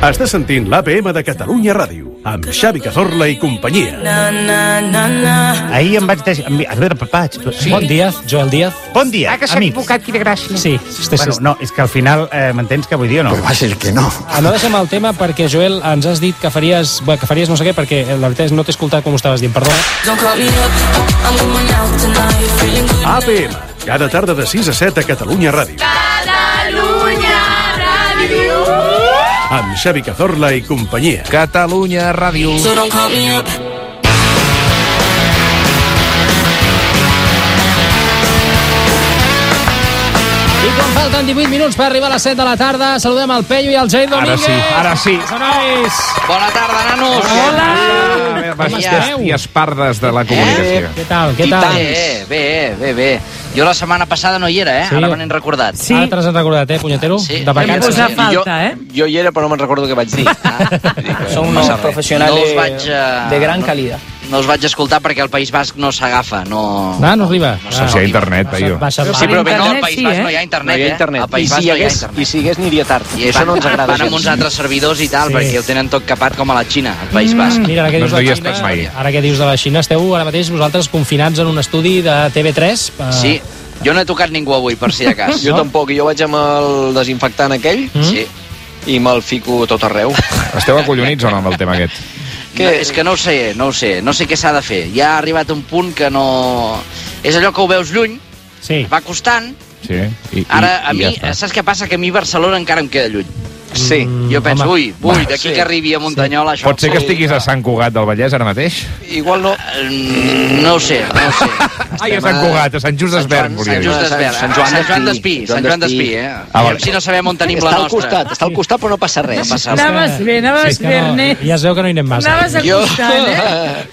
Estàs sentint l'APM de Catalunya Ràdio, amb Xavi Cazorla i companyia. Ahir em vaig... Des... A veure, papats... Sí. Bon dia, Joel Díaz. Bon dia, Ah, que s'ha amics. advocat, quina gràcia. Sí, este Bueno, no, és que al final eh, m'entens que vull dir o no? Va ser que no. No deixem el tema perquè, Joel, ens has dit que faries, bé, que faries no sé què, perquè eh, la veritat és no t'he escoltat com ho estaves dient, perdona. APM, cada tarda de 6 a 7 a Catalunya Ràdio. Catalunya Ràdio! Amb Xavi Cazorla i companyia. Catalunya Ràdio. I quan falten 18 minuts per arribar a les 7 de la tarda, saludem el Peyu i el Jai Ara Domínguez. sí, ara sí. Sonois! Bona tarda, nanos. Hola! Bastias i espardes de la comunicació. Què tal, què I tal? tant. Bé, bé, bé, bé. Jo la setmana passada no hi era, eh? Sí. Ara me n'he recordat. Sí. Ara te l'has recordat, eh, punyetero? Sí. De vacances. posat eh? fa- Falta, eh? Jo hi era, però no me'n recordo què vaig dir. Són No unos passa res. professionals Ah, No els de- vaig, eh, de gran no- calidad. No els vaig escoltar perquè el País Basc no s'agafa, no... Ah, no arriba. No Ah. Si hi ha internet, Baixa- Paio. baixa- Sí, però bé, no, al Internet País sí, Basc eh? no hi ha No internet, hi ha eh? internet. Al País I Basc no hi si hi ha hagués, internet. i si hi hagués aniria tard. I van- això no ens agrada. Van amb uns altres servidors i tal, Sí. perquè ho tenen tot capat com a la Xina, al País Mm. Basc. Mira, ara que No dius ens de veies Xina, pas mai. ara que dius de la Xina, esteu ara mateix vosaltres confinats en un estudi de TV3. eh, Sí, jo no he tocat ningú avui, per si de cas. Ah. Jo tampoc, jo vaig amb el desinfectant aquell Mm? Sí. i me'l fico tot arreu. Esteu acollonits o no amb el tema aquest? Que... No, és que no ho sé, no ho sé, no sé què s'ha de fer. Ja ha arribat un punt que no... És allò que ho veus lluny, Sí. va costant, Sí. I, ara i, a mi, i ja està. Mm, saps què passa? Que a mi Barcelona encara em queda lluny. Sí. Jo penso, home. ui, ui, d'aquí sí. que arribi a Muntanyola, això... Pot ser que estiguis a Sant Cugat del Vallès ara mateix? Igual no... Mm, No ho sé, no ho sé. Ai, a Sant Cugat, a Sant Just Desvern, volia Sant dir. Just d'Espí. Sant Sant Joan Joan d'Espí, d'Espí, Sant Joan d'Espí, eh? Ah, Ah, vale. si no sabem on tenim Està la al nostra. costat, està al costat però no passa res. No passa res. Eh. Anaves bé, anaves És que no- bé, Ernest. Ja es veu que no hi anem massa. Anaves a Jo, costant, eh?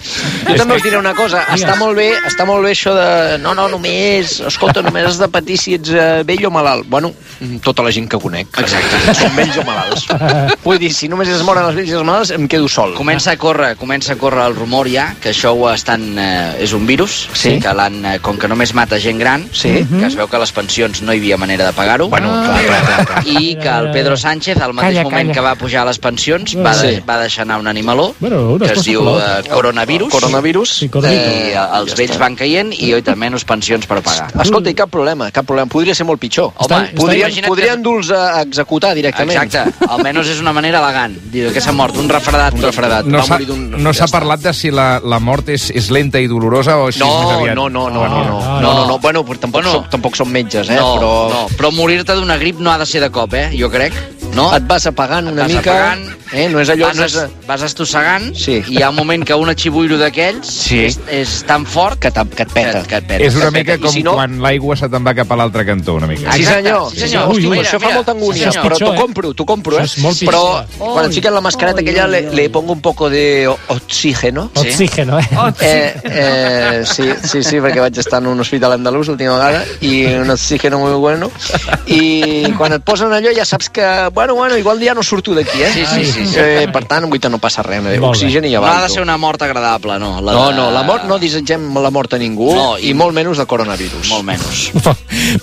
jo també us diré una cosa, està molt bé, està molt bé això de no, no, només, escolta, només has de patir si ets eh, vell o malalt. Bueno, mm, tota la gent que conec. Exacte. Són vells o malalts. Vull dir, si només es moren els vells i els malalts, em quedo sol. Comença a córrer, comença a córrer el rumor ja que això ho estan, eh, és un virus, Sí. que l'han eh, com que només mata gent gran, Sí. que es veu que a les pensions no hi havia manera de pagar-ho. Ah. Bueno, clar, clar, clar. clar. i que el Pedro Sánchez, al mateix Calla, moment calla. que va pujar a les pensions, va, de, Sí. va deixar anar un animaló Bueno, una que es cosa diu com eh, coronavirus, Coronavirus. Sí, i correcte. eh, els vells van caient i oi, també menys pensions per pagar. Eh, Escolta, i cap problema, cap problema. Podria ser molt pitjor. Home, Home, està- podrien imagina't podrien dur-los a a executar directament. Exacte, almenys és una manera elegant. Dir que s'ha mort un refredat. Un refredat. No Va s'ha morir d'un- no ja s'ha està. parlat de si la, la mort és, és lenta i dolorosa o si és més No, aviat... Ah, no, no, no, no, no, no, no, no, no. no. Bueno, però tampoc, Bueno. som, tampoc som metges, eh? no, però no, però morir-te d'una grip no ha de ser de cop, eh? Jo crec, no? Oh. et vas apagant una vas mica, apagant, Ah, eh? No és allò... vas, no és... vas estossegant Sí. i hi ha un moment que un xibuiro d'aquells Sí. és, és tan fort Que, te- que et peta. que, que et peta. És una Perfecte. mica I com si no- no... quan l'aigua se te'n va cap a l'altre cantó, una mica. Sí, Exacte, senyor. sí, senyor. Hosti, Mira, això fa mira. molta angúnia, Sí, senyor. però t'ho Pitjor, eh? compro, t'ho compro, eh? Això és molt però pitjor. quan et fiquen la mascareta aquella le, le pongo un poco de o- oxígeno. Sí. Oxígeno, eh? Oh. Eh, eh, sí, sí, sí, perquè vaig estar en un hospital andalús l'última vegada i un oxígeno muy bueno i quan et posen allò ja saps que, bueno, bueno, igual ja no surto d'aquí, eh? Sí, sí, sí, sí. Eh, per tant, vull que no passa res, no? Molt bé. oxigen i No avant. ha de ser una mort agradable, no. La No, de- no, la mort no desitgem la mort a ningú No, i... i- molt menys de coronavirus. Molt menys.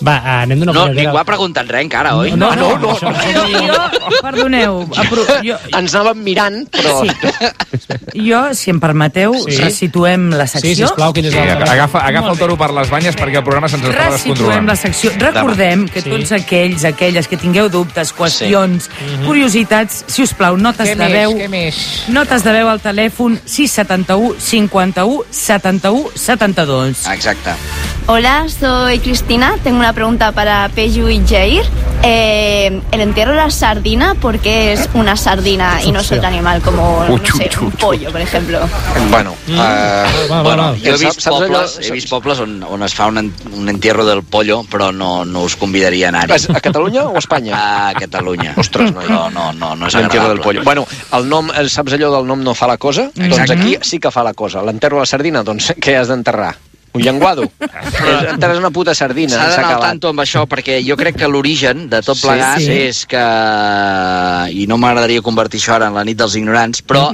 Va, eh, anem d'una No, polleguera. ningú ha preguntat res encara, oi? No, no, no. Jo, jo, perdoneu, apro- jo, Ens anàvem mirant, però... sí. jo, si em permeteu, Sí. sí. resituem la secció. Sí, sisplau, quin és Sí, l'altre? agafa, agafa el toro per les banyes perquè el programa se'ns està Resituem descontrolant. la secció. Recordem que Sí. tots aquells, aquelles que tingueu dubtes, qüestions, Mhm. curiositats, si us plau, notes de veu... més? Notes de veu al telèfon 671 51 71 Ah, 72. Exacte. Hola, soy Cristina. Tengo una pregunta para Peyu y Jair. Eh, el entierro de la sardina, ¿por qué es una sardina y no es otro animal como no sé, un pollo, por ejemplo? Bueno, eh, Va, va, Ah. Bueno, va. jo he Saps- vist saps allò- pobles, he vist pobles on, on es fa un, en- un entierro del pollo, però no, no us convidaria a anar-hi. és a Catalunya o a Espanya? A Catalunya. Ostres, noi. No, no, no, no és L'entierro agradable. del pollo. Bueno, el nom, eh, saps allò del nom no fa la cosa? Doncs aquí sí que fa la cosa. L'enterro de la sardina, doncs què has d'enterrar? Un llenguado? Eh, Enterres una puta sardina, eh, S'ha s'ha d'anar al acabat. tanto amb això, perquè jo crec que l'origen de tot Sí, plegat sí. és que... I no m'agradaria convertir això ara en la nit dels ignorants, però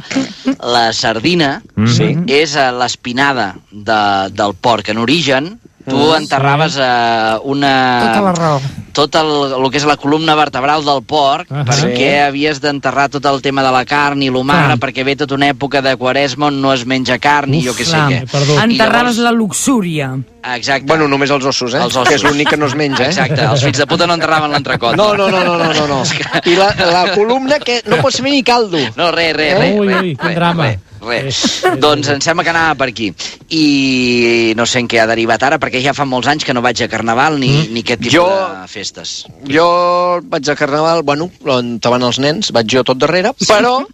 la sardina Mm. Sí. és eh, l'espinada de, del porc. En origen, Tu enterraves eh, una... Ah, Tota la raó. tot el, el que és la columna vertebral del porc, uh Ah, -huh. perquè sí. Ah. havies d'enterrar tot el tema de la carn i l'humagre, perquè ve tota una època de quaresma on no es menja carn i jo què sé Clar, què. Enterraves la luxúria. Exacte. Bueno, només els ossos, eh? Els ossos. Que és l'únic que no es menja, eh? Exacte, els fills de puta no enterraven l'entrecot. No, no, no, no, no, no, no. I la, la columna que no pots fer ni caldo. No, res, res, res. Ui, res, ui, quin res, drama. Res, res. doncs em sembla que anava per aquí. I no sé en què ha derivat ara, perquè ja fa molts anys que no vaig a Carnaval ni, mm. ni aquest tipus Jo- de festes. Jo vaig a carnaval, bueno, on te van els nens, vaig jo tot darrere, però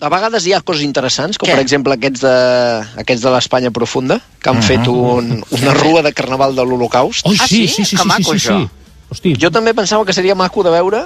a vegades hi ha coses interessants, com Què? per exemple aquests de, aquests de l'Espanya profunda, que Mhm. han fet un, una rua de carnaval de l'Holocaust. Ui, Ah, sí, sí, sí? sí, Que sí, maco, sí, sí, això. sí. Hosti, Jo també pensava que seria maco de veure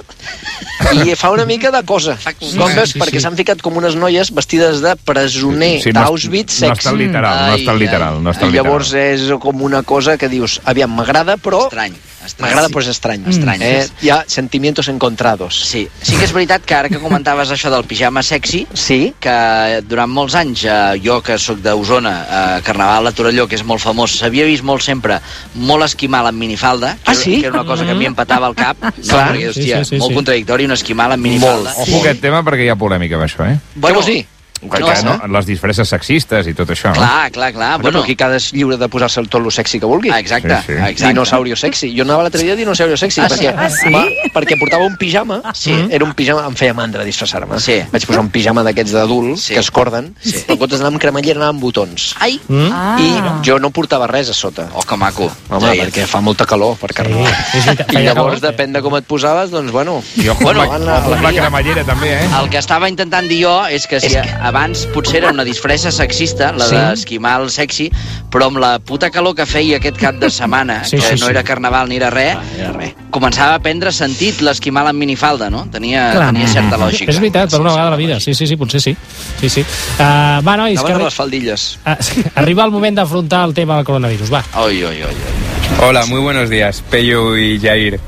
i fa una mica de cosa. Sí, Com veus? sí, sí. Perquè s'han ficat com unes noies vestides de presoner Sí, no- d'Auschwitz No sex. està literal, no Ai, està literal. No està I literal. llavors és com una cosa que dius, aviam, m'agrada, però... Estrany. estrany. M'agrada, però és estrany. Estrany, Eh, sí. hi ha sentimientos encontrados. Sí, sí que és veritat que ara que comentaves això del pijama sexy, Sí? que durant molts anys, eh, jo que sóc d'Osona, eh, Carnaval a Torelló, que és molt famós, s'havia vist molt sempre molt esquimal amb minifalda, que, Ah, era- sí? que era una cosa que a mi em petava el cap, no, Clar. perquè, Sí, hòstia, sí, sí, molt sí. contradictori, un esquimal amb minifalda. Ojo a aquest tema perquè hi ha polèmica amb això, eh? Bueno, Què vols dir? Que, No, no, les disfresses sexistes i tot això. Clar, clar, clar. Bueno, Bueno, però aquí cada és lliure de posar-se el tot lo sexy que vulgui. ah, exacte, Sí, sí. exacte. Dinosaurio sexy. Jo anava l'altre dia a dinosaurio sexy. Ah, perquè, Ah, sí? perquè portava un pijama. mm, Sí. Era un pijama... Em feia mandra disfressar-me. Sí. Vaig posar un pijama d'aquests d'adult, Sí. que es corden, Sí. però en comptes d'anar amb cremallera anava amb botons. Ai, Mm? Ah. I jo no portava res a sota. oh, que maco. Home, Jair. perquè fa molta calor per carnaval. és veritat, I feia llavors, calor. depèn de com et posaves, doncs, bueno... Jo ojo Bueno, bueno, amb, la, amb la cremallera, també, eh? El que estava intentant dir jo és que si abans potser era una disfressa sexista, la Sí. sí? d'esquimal sexy, però amb la puta calor que feia aquest cap de setmana, Sí, sí, que sí, no sí. era carnaval ni era res, Era res. començava a prendre sentit l'esquimal amb minifalda, no? Tenia, Clar. tenia certa lògica. És veritat, per una vegada a la vida. Sí, sí, sí, potser sí. Sí, sí. Uh, va, nois, que Anaven amb arri les faldilles. ah, sí, arriba el moment d'afrontar el tema del coronavirus. Va. Oi, oi, oi. oi. Hola, muy buenos días, Pello y Jair.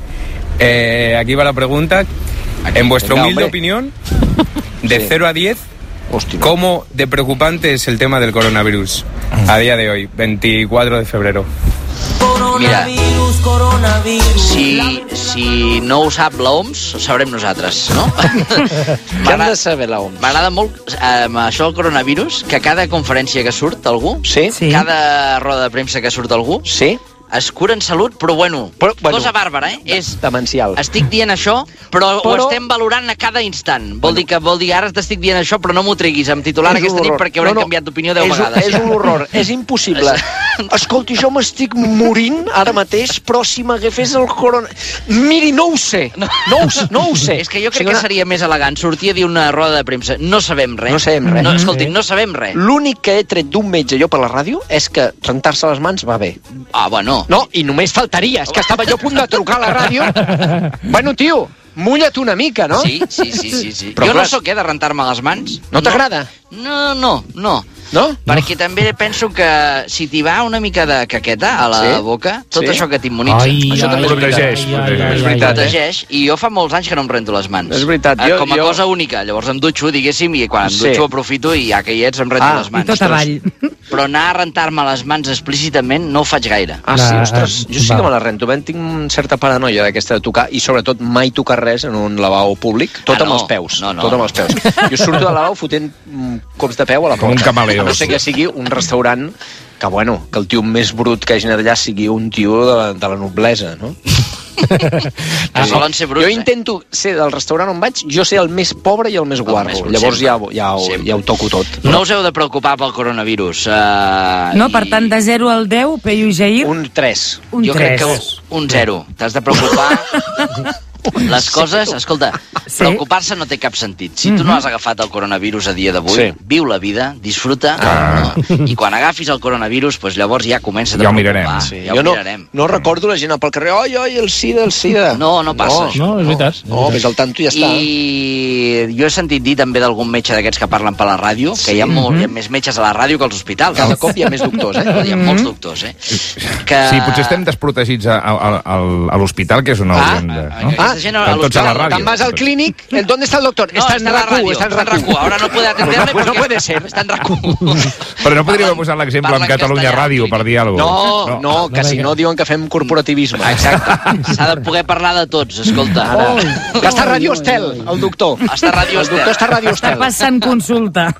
Eh, aquí va la pregunta. En vuestra Venga, humilde hombre. opinión, de Sí. 0 a 10, Hòstia. ¿cómo de preocupante es el tema del coronavirus a día de hoy, 24 de febrero? Mira, si, si no ho sap l'OMS, ho sabrem nosaltres, no? Què han de saber l'OMS? M'agrada molt, eh, amb això del coronavirus, que cada conferència que surt algú, Sí? Sí. cada roda de premsa que surt algú, Sí? es cura en salut, però bueno, Però, bueno. cosa bàrbara, eh? És, Demencial. estic dient això, però, però, Però- ho estem valorant a cada instant. Vol dir que vol dir ara t'estic dient això, però no m'ho treguis amb titular És un aquesta nit horror. perquè haurem No, no, canviat d'opinió deu és, un- vegades. És un horror, és impossible. Escolti, jo m'estic morint ara mateix, però si m'agafés el corona... Miri, no ho sé. No, ho, sé, no ho sé. És que jo crec O que sigui, seria més elegant sortir a dir una roda de premsa. No sabem res. No sabem res. No, escolti, no sabem res. L'únic que he tret d'un metge jo per la ràdio és que rentar-se les mans va bé. Ah, bueno. No, i només faltaria. És que estava jo a punt de trucar a la ràdio. Bueno, tio, mulla't una mica, no? Sí, sí, sí, sí. sí. Però jo clar- no sóc, eh, de rentar-me les mans. No t'agrada? No, no, no. No? Perquè també penso que si t'hi va una mica de caqueta a la Sí? boca, tot Sí? això que t'immunitza, això també és veritat. protegeix, protegeix. És veritat, eh? protegeix i jo fa molts anys que no em rento les mans. És veritat, Eh, jo- Com a jo- cosa única. Llavors em dutxo, diguéssim, i quan em Sí. dutxo aprofito i ja que hi ets em rento Ah, les I mans. tot avall. Però anar a rentar-me les mans explícitament no ho faig gaire. Ah, sí, Va, ostres, jo sí va. que me la rento. Ben, tinc certa paranoia d'aquesta de tocar i sobretot mai tocar res en un lavabo públic, tot Ah, amb no. els peus. No, no. Tot amb els peus. Jo surto del lavabo fotent mm, cops de peu a la porta. Com un camaleó. A No sé que sigui un restaurant que, bueno, que el tio més brut que hagi anat allà sigui un tio de la, de la noblesa, no? Ah, Que solen ser bruts, jo eh? intento ser del restaurant on vaig, jo ser el més pobre i el més guarro. més brut, Llavors ja, sempre. ja, ho, Sempre. ja ho toco tot. No us heu de preocupar pel coronavirus. Uh, No, per tant, de 0 al 10, Peyu i Jair, un, Un 3. un jo 3. crec que un zero. T'has de preocupar... Les coses, escolta, Sí. Mhm. preocupar-se no té cap sentit. Si tu no has agafat el coronavirus a dia d'avui, Sí. viu la vida, disfruta, no? i quan agafis el coronavirus, doncs llavors ja comença a Ah. Ja ho preocupar. mirarem, Sí, Ja jo ho no, mirarem. no recordo la gent pel carrer, oi, oi, el sida, el sida. No, no passa això. No, és veritat. és No, veritat. més al tanto i ja està. I jo he sentit dir també d'algun metge d'aquests que parlen per la ràdio, que hi ha, molt, Mhm. hi ha més metges a la ràdio que als hospitals. Cada cop hi ha més doctors, eh? Hi ha Mhm. molts doctors, eh? Que... Sí, potser estem desprotegits a, a, a, a l'hospital, que és una Ah, urgència. ah, No? ah, vas de gent a Están tots a la ràdio. Tan vas al clínic, el- ¿dónde está el doctor? No, está en está en la RACU, radio, está en está en RACU. RACU. Ahora no puede atenderle Pues no porque puede ser. Està en RAC1. Però no podríem posar l'exemple en parlen Catalunya castellà, Ràdio per dir alguna No, no, que si no diuen que fem corporativisme. Ah, Exacte. S'ha de poder parlar de tots, escolta. Que està a Radio Hostel, el doctor. Està a Radio El doctor Hostel. està a Radio Està Hostel. passant consulta.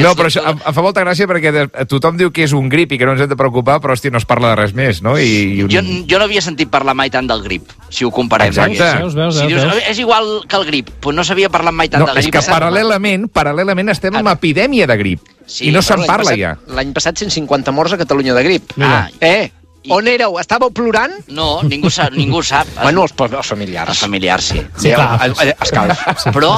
No, però això, em em fa molta gràcia perquè de- tothom diu que és un grip i que no ens hem de preocupar, però, hòstia, no es parla de res més, no? I, i un... Jo, jo no havia sentit parlar mai tant del grip, si ho comparem. Exacte. diguéssim. Veus, veus, si veus, dius, veus. És igual que el grip, però no s'havia parlat mai tant No, del és grip. que paral·lelament, paral·lelament estem en epidèmia de grip. Sí, I no però se'n L'any parla passat- ja. L'any passat 150 morts a Catalunya de grip. Mira. Ah, eh, on éreu? Estàveu plorant? No, ningú sap. Ningú sap. Bueno, els, els familiars. Ah. Eh, els familiars, sí. Sí, clar. El- el- Escalf. Però,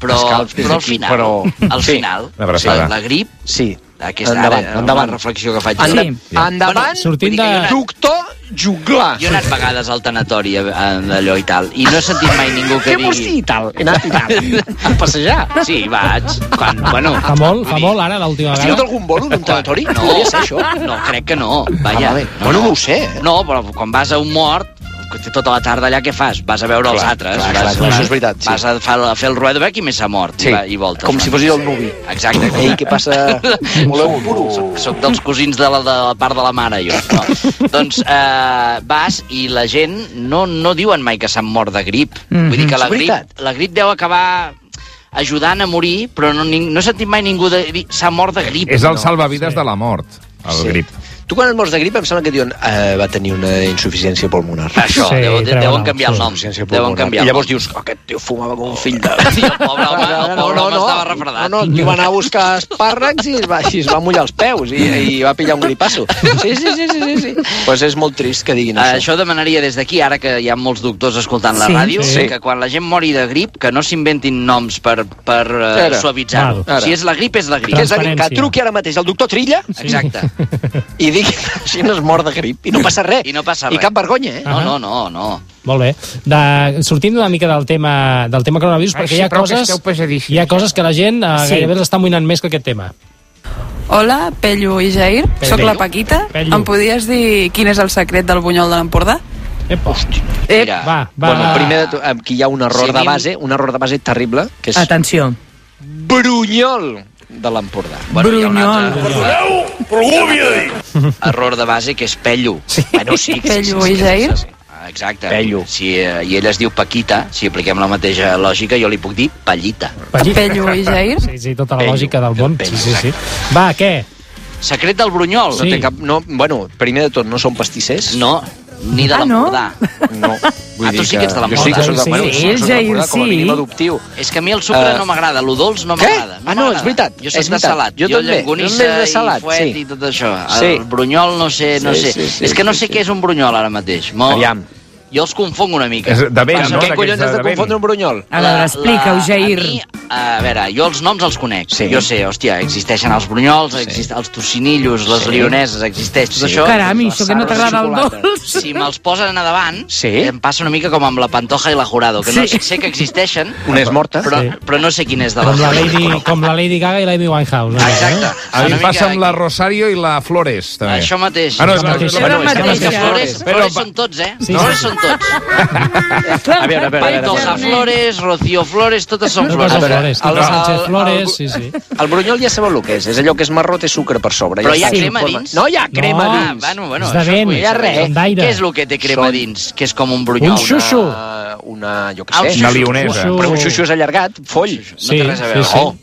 però, Escalf des però al d'aquí, final, però- al Sí. final Una abraçada. la, la grip, Sí. aquesta Endavant, ara, endavant. una reflexió que faig. jo. Enda Sí. Endavant, Bueno, sortint vull dir que de- jo he anat- doctor juglar. Jo he anat vegades al tanatori a- a- d'allò i tal, i no he sentit mai ningú que Què vols dir digui... i tal? He anat i tal. A passejar. Sí, vaig. Quan, bueno, Fa molt, fa ah, vull dir- molt ara, l'última Has tirat vegada. algun bolo d'un tanatori? No, Podria ser això? no, crec que no. Vaja, Ah, vale. Bueno, no ho sé, eh? No, però quan vas a un mort, tota la tarda allà què fas? Vas a veure els Clar, altres. clar, vas, clar, clar, això és veritat, sí. Vas a, fer, a fer el ruedo a veure qui més s'ha mort Sí. i, va, i voltes. Com si fos el nuvi. Exacte. Com... Ei, què passa? Voleu un puro? Soc, soc dels cosins de la, de la part de la mare, jo. No. doncs eh, vas i la gent no, no diuen mai que s'han mort de grip. Mhm. Vull dir que la És veritat. grip, la grip deu acabar ajudant a morir, però no, ning- no he sentit mai ningú de dir s'ha mort de grip. És el no. salvavides de la mort, el Sí. Doncs grip. Tu quan et mors de grip em sembla que diuen eh, va tenir una insuficiència pulmonar. Això, Sí, sí, deuen, treuen deuen el- canviar el nom. Insuficiència Deuen canviar I llavors el nom. dius, "Oh, aquest tio fumava com un fill de... Sí, el pobre home, el pobre home estava refredat. No, no, li va anar a buscar espàrrecs i es va, i es va mullar els peus i, i va pillar un gripasso. Sí, sí, sí, sí, sí. sí. Pues és molt trist que diguin Eh, això. Això demanaria des d'aquí, ara que hi ha molts doctors escoltant la Sí. ràdio, Sí. que quan la gent mori de grip, que no s'inventin noms per, per uh, Ara. suavitzar-ho. Ara. Si és la grip, és la grip. Que, és a dir, que Transparència. truqui ara mateix el doctor Trilla Exacte. i digui que la gent es mor de grip i no passa res. I no passa res. I cap vergonya, eh? Ah. No, no, no, no. Molt bé. De, sortim una mica del tema, del tema coronavirus, Ai, perquè sí, hi ha però que coses, esteu pesadíssims. hi ha coses que la gent eh, Sí. gairebé s'està amoïnant més que aquest tema. Hola, Pello i Jair. Pello. Sóc la Paquita. Pello. Em podies dir quin és el secret del bunyol de l'Empordà? Epa. Ep, Mira, Va, va. Bueno, primer de tot, aquí hi ha un error Sí, de dim- base, un error de base terrible, que és Atenció. Brunyol de l'Empordà. Bueno, hi ha un altre Brunyol. error de base que és Pello. Sí. Bueno, sí, que- Pello sí, i sí, Jair. sí, sí. Ah, Exacte. Pello. Si, eh, I ella es diu Paquita, si apliquem la mateixa lògica, jo li puc dir Pallita. Pello. Pello i Jair. Sí, sí, tota la Pello. lògica del món. Pello, Sí, sí, sí. Va, què? Secret del Brunyol? Sí. No té cap... No, bueno, primer de tot, no són pastissers. No, ni de Ah, no? l'Empordà. No. Vull Ah, tu dir sí que ets de l'Empordà. Jo sí que soc de Sí, bueno, sí, soc de Jair, l'Empordà, com a sí. mínim adoptiu. És que a mi el sucre Eh, no m'agrada, l'udols no Què? m'agrada. Ah, no, m'agrada. és veritat, Jo soc és de veritat. salat. Jo també, llangonissa jo més de salat, i fuet sí. i tot això. Sí. El brunyol no sé, no Sí, sé. sí, sí, és que no sí, sé sí. què és un brunyol ara mateix. Mo... Aviam. Jo els confongo una mica. És de vent, Passa no? que Què collons has de confondre un brunyol? A veure, explica-ho, Jair. A, mi, a veure, jo els noms els conec. Sí. Sí. Jo sé, hòstia, existeixen els brunyols, sí. exist els tocinillos, les Sí. sí. lioneses, existeix tot Sí. això. Caram, i això que no Sardes t'agrada de el xocolata. dolç. Si me'ls posen a davant, Sí. em passa una mica com amb la Pantoja i la Jurado, que no Sí. sé, sé que existeixen, Una és eh? morta. però, Sí. però no sé quin és de Com les la dues. Lady, com la Lady Gaga i la Amy Winehouse. no? Exacte. Eh? A mi Una em passa mica amb la Rosario i la Flores, també. Això mateix. Ah, no, és la mateixa. És la bueno, Flores, mateixa. Però- Flores, Flores són tots, eh? Sí, sí. Flores són tots. A veure, a veure, a veure. a Pantoja veure. Flores, Rocío Flores, totes són Totes Flores. són Flores, el- totes el- Sánchez el- Flores, sí, sí. El brunyol ja sabeu el que és. És allò que és marró, té sucre per sobre. Però hi ja ha està. crema dins? No hi ha crema No. Ah, dins. bueno, bueno, És de això vent, vull hi ha saber. res. són d'aire. Què és el que té crema Són- dins? Que és com un brunyol. Un xuxu. No, Una, Ah, una, jo què Ah, un sé. xuxu. Una lionesa. Xuxu. Però un xuxu és allargat, foll. no té res a veure. Sí, sí. Oh.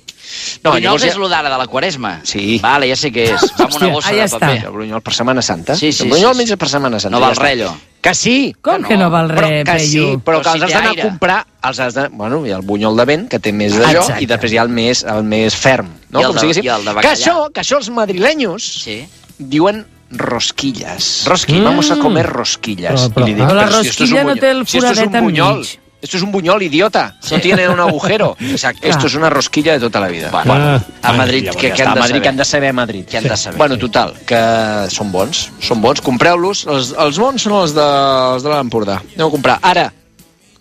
No, Brunyols llavors ja- és lo d'ara, de la quaresma. Sí. Vale, ja sé què és. Va amb una Hòstia, bossa ahí de està. paper. El brunyol per Setmana Santa. Sí, sí, El brunyol sí, sí. menys per Setmana Santa. No ja val està. res, allò. Que sí! Com que no val Però res, que sí, Pello? però que Però els si has té d'anar a aire. comprar, els has de... Bueno, hi ha el bunyol de vent, que té més d'allò, Exacte. i després hi ha el més, el més ferm. No? I el Com de- si diguéssim. i el de que bacallà. això, que això els madrilenyos Sí. diuen rosquillas. Rosquillas. Vamos a comer rosquillas. Però- però- I li dic, ah. Però la si esto es un rosquilla no bunyol- té el si esto es un foradet enmig. bunyol, Esto es un buñol, idiota. No tiene un agujero. Exacte. Esto es una rosquilla de tota la vida. Bueno, Ah. a Madrid, Llavors què, ja què està, han de a Madrid, saber? que han de saber a Madrid. Què han de saber? Bueno, total, que són bons, són bons. Compreu-los. Els, els bons són els de, els de l'Empordà. Aneu a comprar. Ara,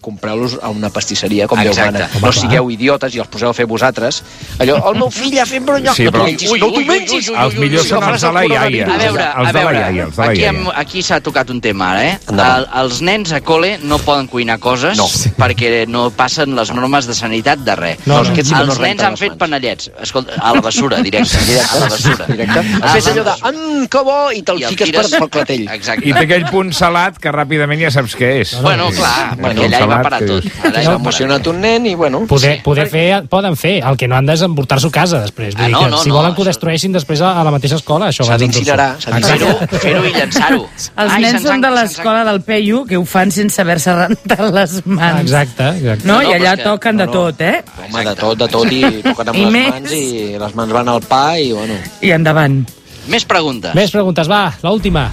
compreu-los a una pastisseria com Déu Exacte. mana. Home, No clar. sigueu idiotes i els poseu a fer vosaltres. Allò, el meu fill ha fet bronyol. Sí, no t'ho però- mengis, Ui, no ui, t'ho ui, mengis. ui, ui, Els ui, millors ui, són ui, els de la iaia. A veure, Els de la a veure, iaia, els de la aquí, iaia. hem- aquí s'ha tocat un tema ara, eh? Endavant. El, els nens a col·le no poden cuinar coses no. perquè no passen les normes de sanitat de res. No, no. Els, Aquests sí que no es nens renten han les fet panellets. Escolta, a la bessura, directe. Directe. A la bessura. Directe. Ah, Fes allò de, ah, mm, que bo, i te'l I el fiques per, tires. pel clatell. Exacte. I té aquell punt salat que ràpidament ja saps què és. Bueno, clar, perquè allà hi va parar tot. Allà hi va parar Emociona un nen i, bueno... Poder, sí, poder fer, poden fer, el que no han desemportar-s'ho a casa després. Vull Ah, dir no, que, no, si no, volen que ho destrueixin després a a la mateixa escola, això S'ha abans d'incinerar, tot s'ha surt. d'incinerar. Exacte. Fer-ho i llançar-ho. Els Ai, nens se'ns són han- de se'ns han l'escola del Peyu, que ho fan sense haver-se rentat les mans. Exacte, exacte. No, No, i però allà és que- toquen de no, no. tot, eh? Home, de tot, de tot, i toquen amb I les més. mans i les mans van al pa i, bueno... I endavant. Més preguntes. Més preguntes, va, l'última.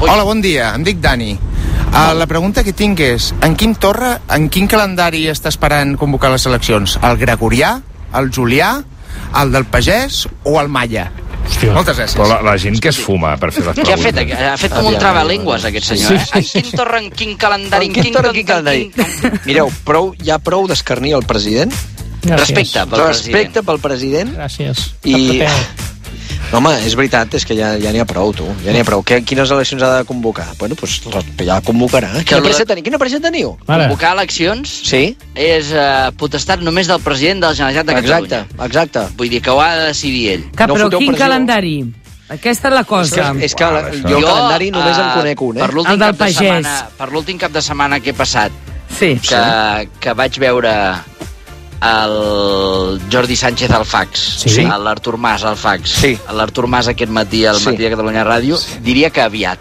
Hola, bon dia, em dic Dani. Uh, la pregunta que tinc és, en quin torre, en quin calendari està esperant convocar les eleccions? El gregorià, el julià, el del pagès o el maia? Hòstia. Moltes gràcies. Però la, la gent que es fuma per fer les Què ha preguntes. fet? Ha fet com un trabalengües, aquest senyor, eh? En quin torre, en quin calendari, en quin... Quin calendari? Mireu, prou, hi ha prou d'escarnir el president. Gràcies. Respecte pel Respecte pel president. Gràcies. I... Tapeteu. No, home, és veritat, és que ja ja n'hi ha prou, tu. Ja n'hi ha prou. Que, quines eleccions ha de convocar? Bueno, doncs pues, ja convocarà. Quina lo- pressa teniu? Quina pressa teniu? Convocar eleccions Sí? és eh, potestat només del president de la Generalitat de Exacte, Catalunya. exacte. Vull dir que ho ha de decidir ell. Que, No però foteu quin pressió. calendari? Aquesta és la cosa. És que la, jo el calendari només en eh, conec un, eh? Per l'últim El del cap, de pagès. setmana, per l'últim cap de setmana que he passat, Sí. que, que vaig veure el Jordi Sánchez al fax, Sí. l'Artur Mas al fax, Sí. l'Artur Mas aquest matí al Sí. matí de Catalunya Ràdio, diria que aviat.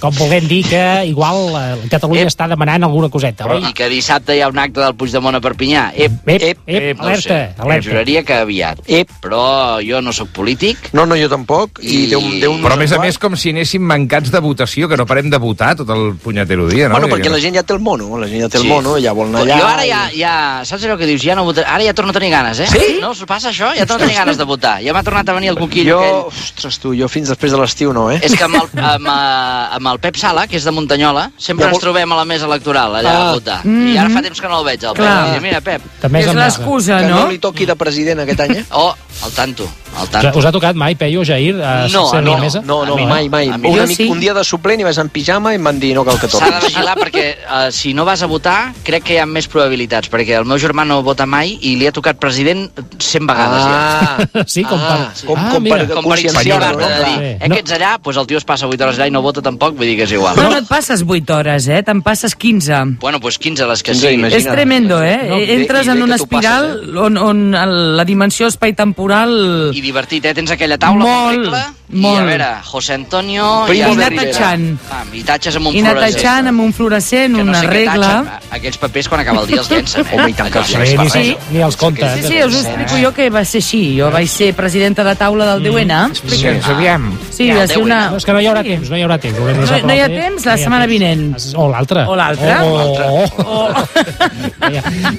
Com volent dir que igual eh, Catalunya està demanant alguna coseta, oi? I que dissabte hi ha un acte del Puigdemont a Perpinyà. Ep, Ep, ep, ep, no ho sé. alerta, alerta. Juraria que aviat. Ep. Però jo no sóc polític. No, no, jo tampoc. I, I- Déu, Déu Però a més a més com si anéssim mancats de votació, que no parem de votar tot el punyetero dia, no? Bueno, perquè la gent ja té el mono, la gent ja té el eh? Sí. mono, ja vol anar allà... jo ara ja, i- ja... Saps allò que dius? Ja no votaré, ara ja torno a tenir ganes, eh? Sí? No us passa això? Ja torno a tenir ganes de votar. Ja m'ha tornat a venir el coquillo Jo, aquell. ostres, tu, jo fins després de l'estiu no, eh? És que amb el, amb, eh, amb el Pep Sala, que és de Muntanyola, sempre Ja vol- ens trobem a la mesa electoral, allà Ah. a votar. I ara fa temps que no el veig, el Pep. Mhm. Clar. I dic, mira, Pep, També és és amb l'Arna. l'excusa, que no? no li toqui de president aquest any, eh? oh, al tanto, al Us ha- tanto. Us ha tocat mai, Peyu, Jair, eh, a No, ser no, la mesa? No, no, A mi no. mai, mai. A mi Una no. mica, Sí. un dia de suplent i vaig en pijama i em van dir no cal que S'ha de tornis. vigilar perquè eh, si no vas a votar crec que hi ha més probabilitats, perquè el meu germà no vota mai i li ha tocat president 100 vegades. Ah, ja. Sí, com per- Ah. com, Ah, com mira. per Com per conscienciar-ho, incentivar-te no? de dir, Clar. Clar. eh, que ets allà, doncs el tio es passa 8 hores allà i no vota tampoc, vull dir que és igual. Però no et passes 8 hores, eh? Te'n passes 15. Bueno, doncs 15 les que 15, siguin. imagina't. És tremendo, eh? No, i- Entres i en bé una que t'ho passes, espiral on, on el- la dimensió espai-temporal... I divertit, eh? Tens aquella taula Molt, amb regla, molt. i a veure, José Antonio... Primo i, de a Rivera. Pam, I tatxes amb un I netejant fluorescent. amb un fluorescent, Que una sé què regla... Tatxen, aquells papers quan acaba el dia els llencen, eh? Home, i tant que els Allò, Sí, no ni, és per sí, res. ni els comptes. Sí, sí, us ho explico jo que va ser així. Jo vaig ser presidenta de taula Mm. del DUN. Explica'ns, aviam. Sí, Ja, va ser DUN. una... No, és que no hi haurà temps, no hi haurà temps. Haurem de No- deixar no hi ha per la temps, fe- eh? no hi la ha setmana temps. vinent. O l'altra. O l'altra. O, o, o. Oh.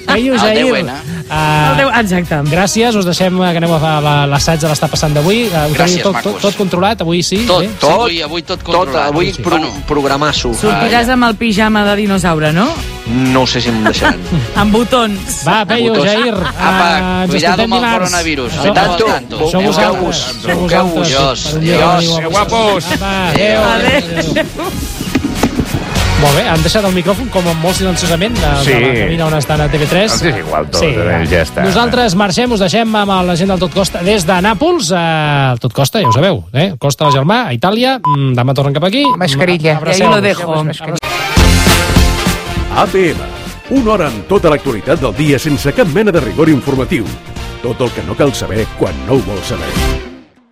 Peyu, El Jair, DUN. El eh, DUN, Ah, Exacte. gràcies, us deixem eh, que aneu a fer la- l'assaig de l'està passant d'avui. Eh, ho teniu Gràcies, tot, tot, macos. tot controlat, avui sí? Tot, bé? tot, avui, avui tot Tot, controlat. avui Sí, sí. pro, Bueno, programasso. Sortiràs amb el pijama de dinosaure, no? No ho sé si em deixaran. Amb botons. Va, Peyu, Botons. Jair, eh, Apa, ens cuidado escoltem amb el dimarts. coronavirus. Això- Tanto. Això Busqueu-vos. vosaltres. Això vosaltres. Busqueu-vos. Per un dia Adiós. veniu a Adéu, vosaltres. guapos. Apa, adéu. Molt bé, han deixat el micròfon com molt silenciosament de, Sí. de la cabina on estan a TV3. Doncs és igual tot, eh, ja està. Nosaltres marxem, us deixem amb la gent del Tot Costa des de Nàpols. Eh, el Tot Costa, ja ho sabeu, eh? Costa, el germà, a Itàlia. Mm, demà tornen cap aquí. Mascarilla. I ahí lo dejo. APM. Una hora amb tota l'actualitat del dia sense cap mena de rigor informatiu. Tot el que no cal saber quan no ho vols saber.